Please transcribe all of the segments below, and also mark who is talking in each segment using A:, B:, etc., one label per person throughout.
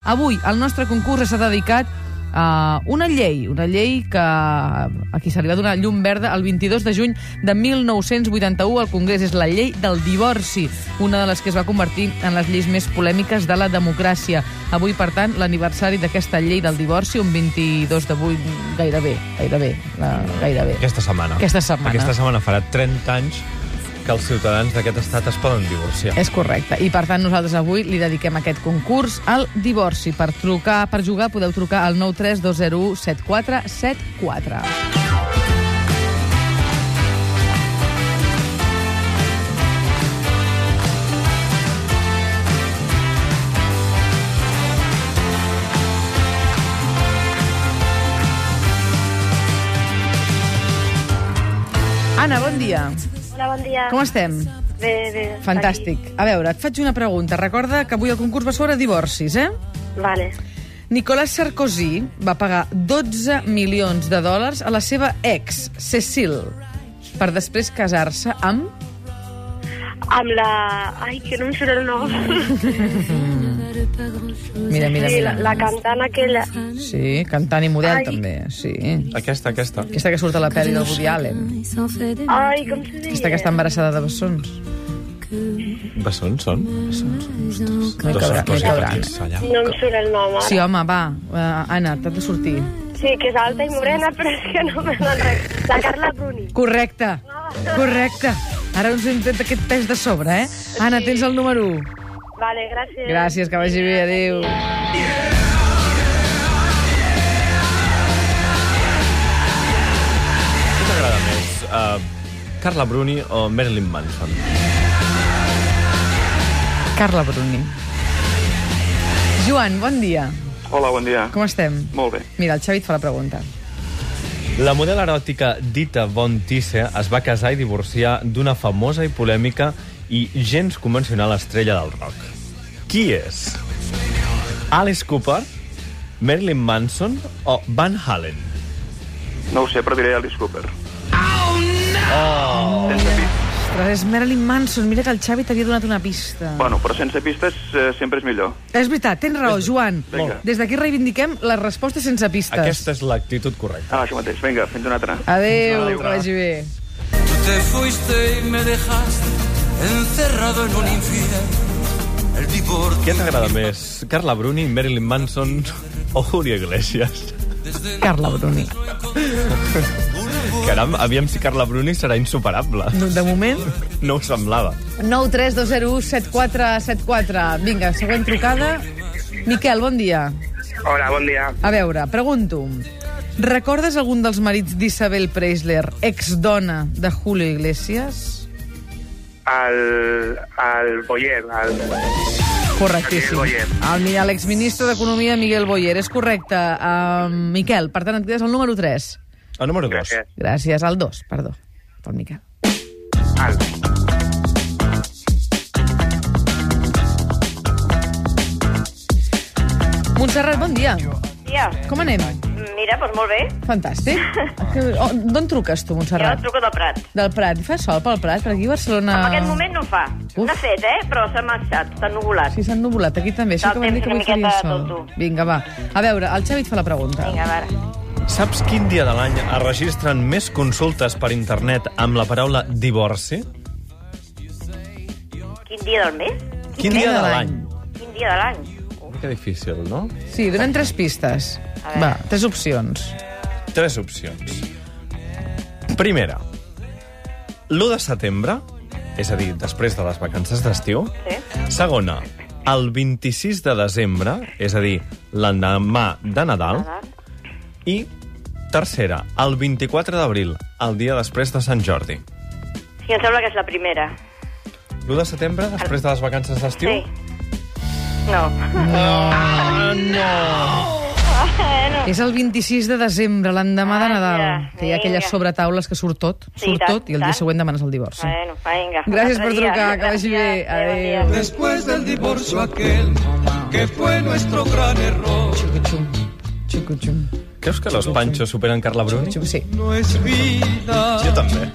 A: Avui el nostre concurs s'ha dedicat a una llei, una llei que a qui se li va donar llum verda el 22 de juny de 1981 al Congrés. És la llei del divorci, una de les que es va convertir en les lleis més polèmiques de la democràcia. Avui, per tant, l'aniversari d'aquesta llei del divorci, un 22 de vuit, gairebé, gairebé, la, gairebé.
B: Aquesta setmana.
A: Aquesta setmana.
B: Aquesta setmana farà 30 anys que els ciutadans d'aquest estat es poden divorciar.
A: És correcte. I, per tant, nosaltres avui li dediquem aquest concurs al divorci. Per trucar, per jugar, podeu trucar al 932017474. Anna, bon dia.
C: Hola, bon dia.
A: Com estem?
C: Bé, bé.
A: Fantàstic. A veure, et faig una pregunta. Recorda que avui el concurs va sobre divorcis, eh?
C: Aquí. Vale.
A: Nicolas Sarkozy va pagar 12 milions de dòlars a la seva ex, Cecil, per després casar-se amb...
C: Amb la... Ai, que no em surt el nom.
A: Mira, mira,
C: Sí, la,
A: mira.
C: la cantant aquella.
A: Sí, cantant i model,
C: Ai.
A: també, sí.
B: Aquesta, aquesta.
A: Aquesta que surt a la pel·li del Woody Allen.
C: Ai, com se deia?
A: Aquesta que està embarassada de bessons.
B: Bessons són? Bessons.
A: No hi caurà, no hi caurà.
C: No em surt el nom, ara.
A: Sí, home, va, uh, Anna, t'has de sortir.
C: sí que és alta i morena, però és que no me l'enrec. La Carla Bruni.
A: Correcte, correcte. Ara ens hem tret aquest pes de sobre, eh? Anna, tens el número 1.
C: Vale, gràcies.
A: Gràcies, que vagi bé, adéu.
B: Què t'agrada més? Uh, Carla Bruni o Marilyn Manson?
A: Carla Bruni. Joan, bon dia.
D: Hola, bon dia.
A: Com estem?
D: Molt bé.
A: Mira, el Xavi et fa la pregunta.
B: La model eròtica Dita Von Tisse es va casar i divorciar d'una famosa i polèmica i gens convencional estrella del rock. Qui és? Alice Cooper, Marilyn Manson o Van Halen?
D: No ho sé, però diré Alice Cooper. Oh, no! Sense pistes.
A: Ostres, és Marilyn Manson. Mira que el Xavi t'havia donat una pista.
D: Bueno, però sense pistes eh, sempre és millor.
A: És veritat, tens raó, Joan.
D: Vinga.
A: Des d'aquí reivindiquem les respostes sense pistes.
B: Aquesta és l'actitud correcta.
D: Ah, això mateix. Vinga, fins una altra.
A: Adéu,
D: Adéu.
A: que vagi bé.
E: Tú te fuiste y me dejaste encerrado en un infierno. El
B: Què
E: divorcio
B: t'agrada més? Carla Bruni, Marilyn Manson o Julio Iglesias?
A: Carla Bruni.
B: Caram, aviam si Carla Bruni serà insuperable.
A: De moment,
B: No ho semblava.
A: 932017474. Vinga, següent trucada. Miquel, bon dia.
F: Hola, bon dia.
A: A veure, pregunto. Recordes algun dels marits d'Isabel Preisler, exdona de Julio Iglesias?
F: El, el Boyer, el...
A: Correctíssim.
F: Miguel
A: El, mi- l'exministre d'Economia, Miguel Boyer. És correcte. Uh, Miquel, per tant, et quedes el número 3.
B: El número 2.
F: Gràcies.
A: Gràcies. El 2, perdó. Pel Miquel.
F: El...
A: Montserrat, bon dia.
G: Tia,
A: Com anem?
G: mira, doncs molt bé.
A: Fantàstic. Que- on- D'on truques tu,
G: Jo
A: Montserrat?
G: truco del Prat.
A: Del Prat. Fa sol pel Prat? Per aquí a Barcelona...
G: En aquest moment no fa.
A: Ah. Uf.
G: N'ha fet, eh? Però s'ha marxat, s'ha nuvolat.
A: Sí, s'ha ennubulat. Aquí també. Això
G: Del
A: que van dir
G: temps
A: que
G: una
A: avui faria
G: miqueta
A: sol.
G: tot dur.
A: Vinga, va. A veure, el Xavi et fa la pregunta.
G: Vinga, a veure.
B: Saps quin dia de l'any es registren més consultes per internet amb la paraula divorci?
G: Quin dia del mes?
B: Quin dia de l'any?
G: Quin dia de l'any?
B: Que difícil, no?
A: Sí, donen tres pistes.
G: A veure.
A: Va, tres opcions.
B: Tres opcions. Primera, l'1 de setembre, és a dir, després de les vacances d'estiu.
G: Sí.
B: Segona, el 26 de desembre, és a dir, l'endemà de Nadal. I tercera, el 24 d'abril, el dia després de Sant Jordi.
G: Sí, em sembla que és la primera.
B: L'1 de setembre, després de les vacances d'estiu?
G: Sí. No.
A: És el 26 de desembre, l'endemà de
H: Ah,
G: Vaja,
A: Nadal, que
H: Eh,
A: hi ha
G: vinga.
A: aquelles sobretaules que surt tot,
G: Sí,
A: surt
G: i tant,
A: tot, i el dia
G: tant.
A: següent demanes el divorci.
H: Eh.
G: Bueno, vinga.
A: Gràcies
G: un altre
A: per
G: dia.
A: trucar, que vagi bé.
G: Gràcies, bon dia.
A: Adéu.
E: Después del divorcio aquel, que fue nuestro gran error,
A: Xucutxum, xucutxum,
B: Creus que los panchos superen Carla Bruni?
A: xucutxum, sí.
E: no es vida.
B: Jo també.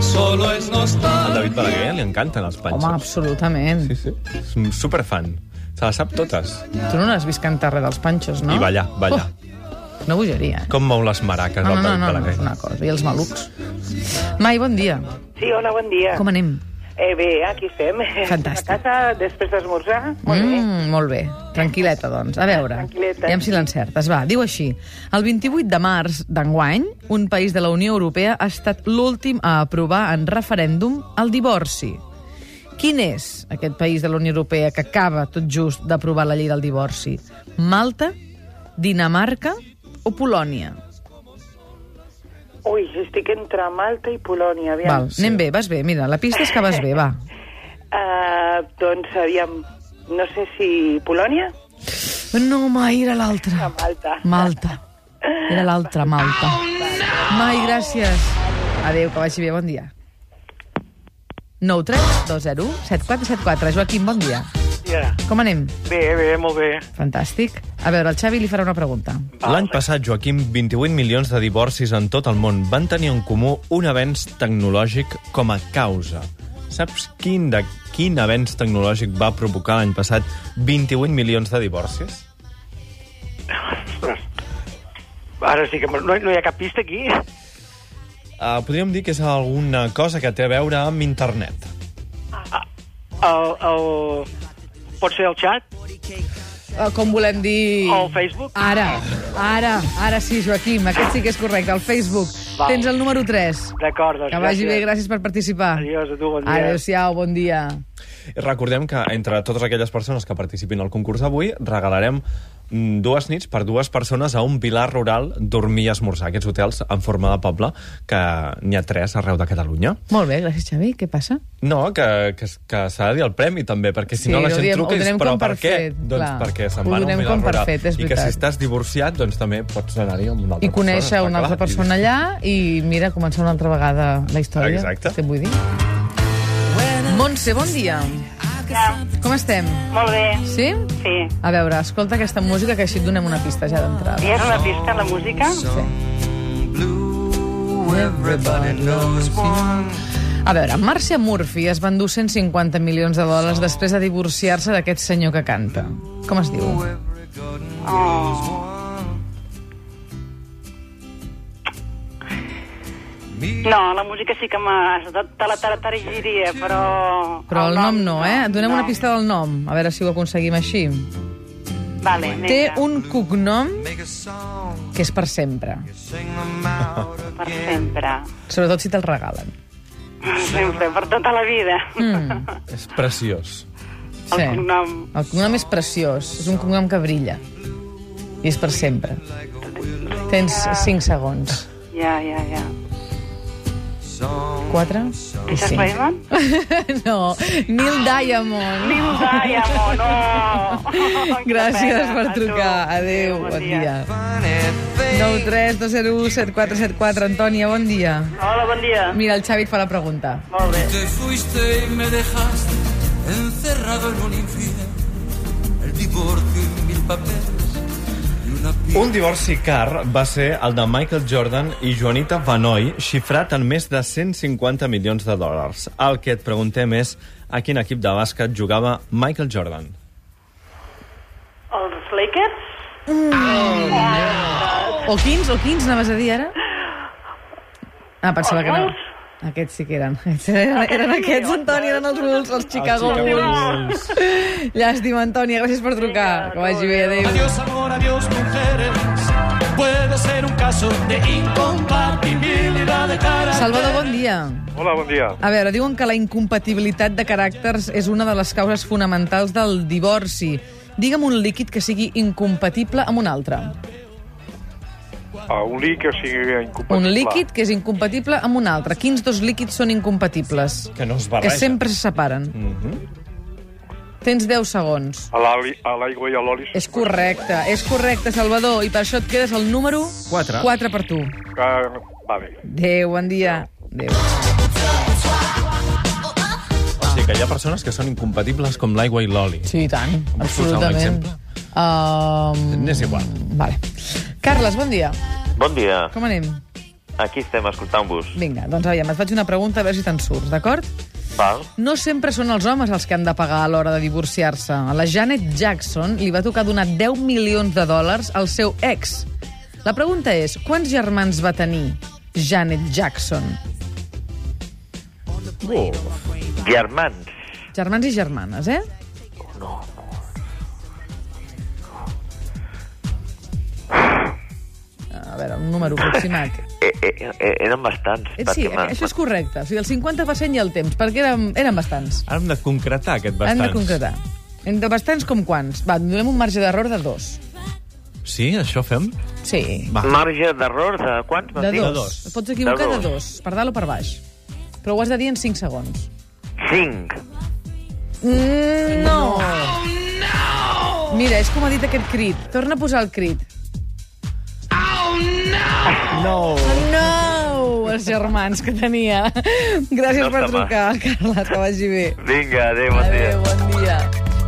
E: solo es
B: Al
E: nostalgia.
B: David Balaguer li encanten els panxos.
A: Home, absolutament.
B: Sí, sí. És un superfan. Se la sap totes.
A: Tu no n'has vist cantar res dels panxos, no?
B: I ballar, ballar.
A: Oh, una bogeria, eh?
B: Com mou les maracas
A: No,
B: del
A: no, no, no,
B: David
A: no,
B: Balaguer.
A: és una cosa. I els malucs. Mai, bon dia.
H: Sí, hola, bon dia.
A: Com anem?
H: Eh, bé, aquí estem.
A: Fantàstic.
H: A casa, després d'esmorzar, molt mm. bé.
A: Mm, molt bé. Tranquil·leta, doncs. A veure.
H: Tranquil·leta.
A: Aviam si l'encertes. Va, diu així. El 28 de març d'enguany, un país de la Unió Europea ha estat l'últim a aprovar en referèndum el divorci. Quin és aquest país de la Unió Europea que acaba tot just d'aprovar la llei del divorci? Malta, Dinamarca o Polònia?
H: Ui, estic entre Malta i Polònia, aviam.
A: Val, anem bé, vas bé. Mira, la pista és que vas bé, va.
H: Uh, doncs, aviam, no sé si Polònia
A: No, mai era l'altra.
H: o Malta.
A: Malta. Era l'altra, Malta. Mai, gràcies. Adéu, que vagi bé, bon dia. 9 3 2 0 7 4 7 4 Joaquim, bon dia.
I: Ja.
A: Com anem?
I: Bé, bé, molt bé.
A: Fantàstic. A veure, el Xavi li farà una pregunta.
B: L'any passat, Joaquim, 28 milions de divorcis en tot el món van tenir en comú un avenç tecnològic com a causa. Saps quin de quin avenç tecnològic va provocar l'any passat 28 milions de divorcis?
I: Ara sí que no, no hi ha cap pista aquí.
B: Uh, podríem dir que és alguna cosa que té a veure amb internet.
I: El, el... Pot ser el xat?
A: Uh, com volem dir...
I: O el Facebook?
A: Ara, ara, ara sí, Joaquim, aquest sí que és correcte, el Facebook.
I: Val.
A: Tens el número 3.
I: D'acord, doncs
A: Que vagi
I: gràcies.
A: bé, gràcies per participar.
I: Adiós, a tu, bon dia.
A: Adéu-siau, bon dia.
B: Recordem que entre totes aquelles persones que participin al concurs d'avui regalarem mm, dues nits per dues persones a un pilar rural dormir i esmorzar. Aquests hotels en forma de poble, que n'hi ha tres arreu de Catalunya.
A: Molt bé, gràcies, Xavi. Què passa?
B: No, que, que, que s'ha de dir el premi, també, perquè si
A: Sí,
B: no la
A: ho
B: gent
A: diem- ho
B: truca i diu,
A: donem
B: però
A: com
B: per
A: per
B: què?
A: fet,
B: doncs
A: clar.
B: perquè
A: Ho
B: se'n va a un
A: donem
B: pilar
A: com per
B: rural.
A: fet, és
B: I que
A: veritat.
B: si estàs divorciat, doncs també pots anar-hi amb una altra
A: I conèixer
B: persona.
A: una altra persona allà i, mira, començar una altra vegada la història.
B: Exacte.
A: Què vull dir? Montse, bon dia. Com estem?
G: Molt bé,
A: Sí?
G: sí.
A: A veure, escolta aquesta música que així et donem una pista ja d'entrada.
G: I és una pista, la música?
A: A veure, Marcia Murphy es va endur 150 milions de dòlars després de divorciar-se d'aquest senyor que canta. Com es diu?
G: Oh. No, la música sí que m'has de te la tartaregiria, però...
A: Però el nom no, eh? Et donem una pista del nom, a veure si ho aconseguim així.
G: Vale,
A: Té
G: vinga,
A: un cognom que és per sempre,
G: per sempre.
A: sobretot si te'l regalen.
G: Sempre, per tota la vida.
A: Mm.
B: És preciós.
G: El cognom.
A: El cognom és preciós, és un cognom que brilla. I és per sempre. Tens 5 segons.
G: Ja, ja, ja.
A: 4 i
G: Richard
A: 5.
G: Feynman?
A: No, Neil Diamond.
G: Neil Diamond, no!
A: Gràcies per
G: A tu.
A: trucar. Adéu, bon dia. 9 3 2 0 7 4 7 4 Antònia, bon dia.
G: Hola, bon dia.
A: Mira, el Xavi et fa la pregunta.
G: Molt bé.
E: Te fuiste y me dejaste encerrado en un infierno. El divorcio en mil papeles y una pi-
B: Un divorci car va ser el de Michael Jordan i Joanita Vanoi, xifrat en més de 150 milions de dòlars. El que et preguntem és a quin equip de bàsquet jugava Michael Jordan.
G: Els Lakers?
A: O 15, o 15, anaves a dir ara? Ah, pensava que no.
G: Bulls.
A: Aquests sí que eren. Eren, eren aquests, Antoni, eren els Bulls, els Chicago
B: Els Chicago
A: Bulls.
B: Bulls.
A: Llàstima, Antònia, gràcies per trucar. Que vagi bé, adéu.
J: Adiós amor, adiós mujeres. Puede ser un caso de incompatibilidad de cara.
A: Salvador, bon dia.
F: Hola, bon dia.
A: A veure, diuen que la incompatibilitat de caràcters és una de les causes fonamentals del divorci. Digue'm un líquid que sigui incompatible amb un altre.
F: Ah, un líquid, o sigui, incompatible.
A: Un líquid que és incompatible amb un altre. Quins dos líquids són incompatibles?
B: Que no es Mhm.
A: Que
B: barreja.
A: sempre se separen. Tens 10 segons.
F: A l'ali- a l'aigua i a l'oli.
A: És correcte, és correcte, Salvador, i per això et quedes el número...
B: Quatre.
A: 4 per tu.
F: Ah, va bé.
A: Déu, bon dia. Déu.
B: O sigui que hi ha persones que són incompatibles com l'aigua i l'oli.
A: Sí, i tant,
B: Vols posar un
A: absolutament.
B: exemple?
A: Um...
B: N'és igual.
A: Vale. Carles, bon dia.
K: Bon dia.
A: Com anem?
K: Aquí estem escoltant-vos.
A: Vinga, doncs aviam, et faig una pregunta a veure si te'n surts, d'acord?
K: Val?
A: No sempre són els homes els que han de pagar a l'hora de divorciar-se. A la Janet Jackson li va tocar donar 10 milions de dòlars al seu ex. La pregunta és, quants germans va tenir Janet Jackson?
K: Oh. Germans.
A: Germans i germanes, eh? A veure, un número aproximat.
K: Eh, eh, eh, eren bastants.
A: Eh, Sí,
K: perquè m'ha-
A: això és correcte. O sigui, el 50% i el temps, perquè érem, eren bastants.
B: Ara hem de concretar aquest
A: Hem
B: bastants.
A: de concretar. Entre bastants com quants? Va, donem un marge d'error de dos.
B: Sí, això fem?
A: Sí.
B: Va.
K: Marge d'error de quants?
A: De dos. Et pots equivocar de dos. Per dalt o per baix. Però ho has de dir en 5 segons.
K: Cinc.
A: Mm, no. no! Mira, és com ha dit aquest crit. Torna a posar el crit.
B: No.
A: No! Els germans que tenia. Gràcies
K: No
A: per
K: està mal.
A: trucar, Carles, que vagi bé.
K: Vinga, adéu, bon dia.
A: Adéu, bon dia.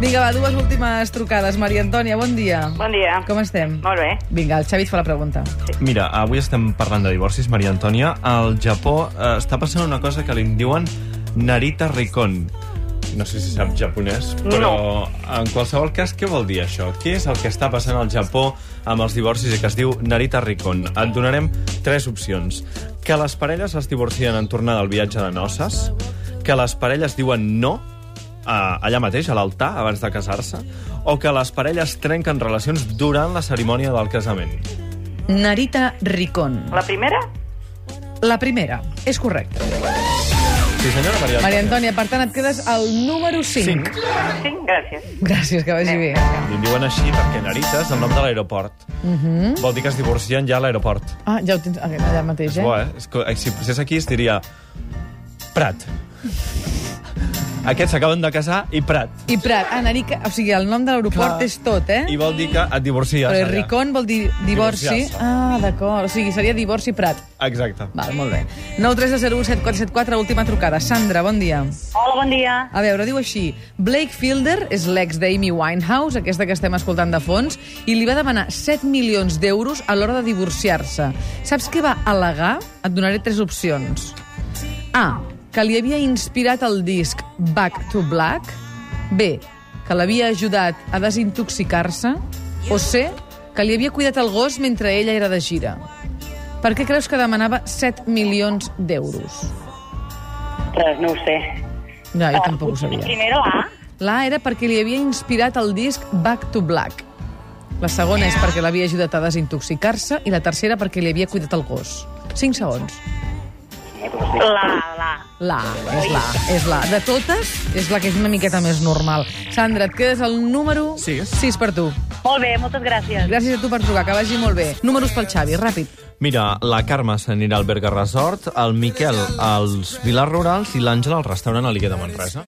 A: Vinga, va, dues últimes trucades. Maria Antònia, bon dia. Bon dia. Com estem? Molt bé. Vinga, el Xavi et fa la pregunta.
B: Mira, avui estem parlant de divorcis, Maria Antònia. Al Japó eh, està passant una cosa que li en diuen Narita Rikon. No sé si sap japonès, però en qualsevol cas, què vol dir això? Què és el que està passant al Japó amb els divorcis i que es diu Narita Rikon? Et donarem tres opcions. Que les parelles es divorcien en tornar del viatge de noces, que les parelles diuen no a, allà mateix, a l'altar, abans de casar-se, o que les parelles trenquen relacions durant la cerimònia del casament.
A: Narita Ricón.
G: La primera?
A: La primera. És correcte.
B: Sí, senyora Maria.
A: Maria Antònia, per tant, et quedes al número 5. 5.
G: Cinc, gràcies.
A: Gràcies, que vagi bé.
B: I en diuen així perquè Narita és el nom de l'aeroport.
A: Uh -huh.
B: Vol dir que es divorcien ja a l'aeroport.
A: Ah, ja ho tens ah, allà mateix,
B: És
A: eh?
B: bo, eh? És co- Si passés aquí es diria... Prat. Aquests s'acaben de casar i Prat.
A: I Prat, ah, Narica, o sigui, el nom de l'aeroport és tot, eh?
B: I vol dir que et divorcies
A: Però
B: allà.
A: Ricón vol dir divorci.
B: Divorciar-se.
A: Ah, d'acord. O sigui, seria divorci Prat.
B: Exacte.
A: Val, molt bé. 930177474, última trucada. Sandra, bon dia.
G: Hola, bon dia.
A: A veure, diu així. Blake Fielder és l'ex d'Amy Winehouse, aquesta que estem escoltant de fons, i li va demanar 7 milions d'euros a l'hora de divorciar-se. Saps què va al·legar? Et donaré tres opcions. A. Que li havia inspirat el disc Back to Black. B. Que l'havia ajudat a desintoxicar-se. O C. Que li havia cuidat el gos mentre ella era de gira. Per què creus que demanava 7 milions d'euros?
G: Res, no ho sé.
A: No, jo tampoc ho sabia.
G: Primera, la Ah, A.
A: La era perquè li havia inspirat el disc Back to Black. La segona és perquè l'havia ajudat a desintoxicar-se i la tercera perquè li havia cuidat el gos. 5 segons.
G: La, la.
A: La, és la, és la. De totes, és la que és una miqueta més normal. Sandra, et quedes el número 6, 6 per tu.
G: Molt bé, moltes gràcies.
A: Gràcies a tu per trucar, que vagi molt bé. Números pel Xavi, ràpid.
B: Mira, la Carme s'anirà al Berga Resort, el Miquel als Vilars Rurals i l'Àngela al restaurant Aliguer de Manresa.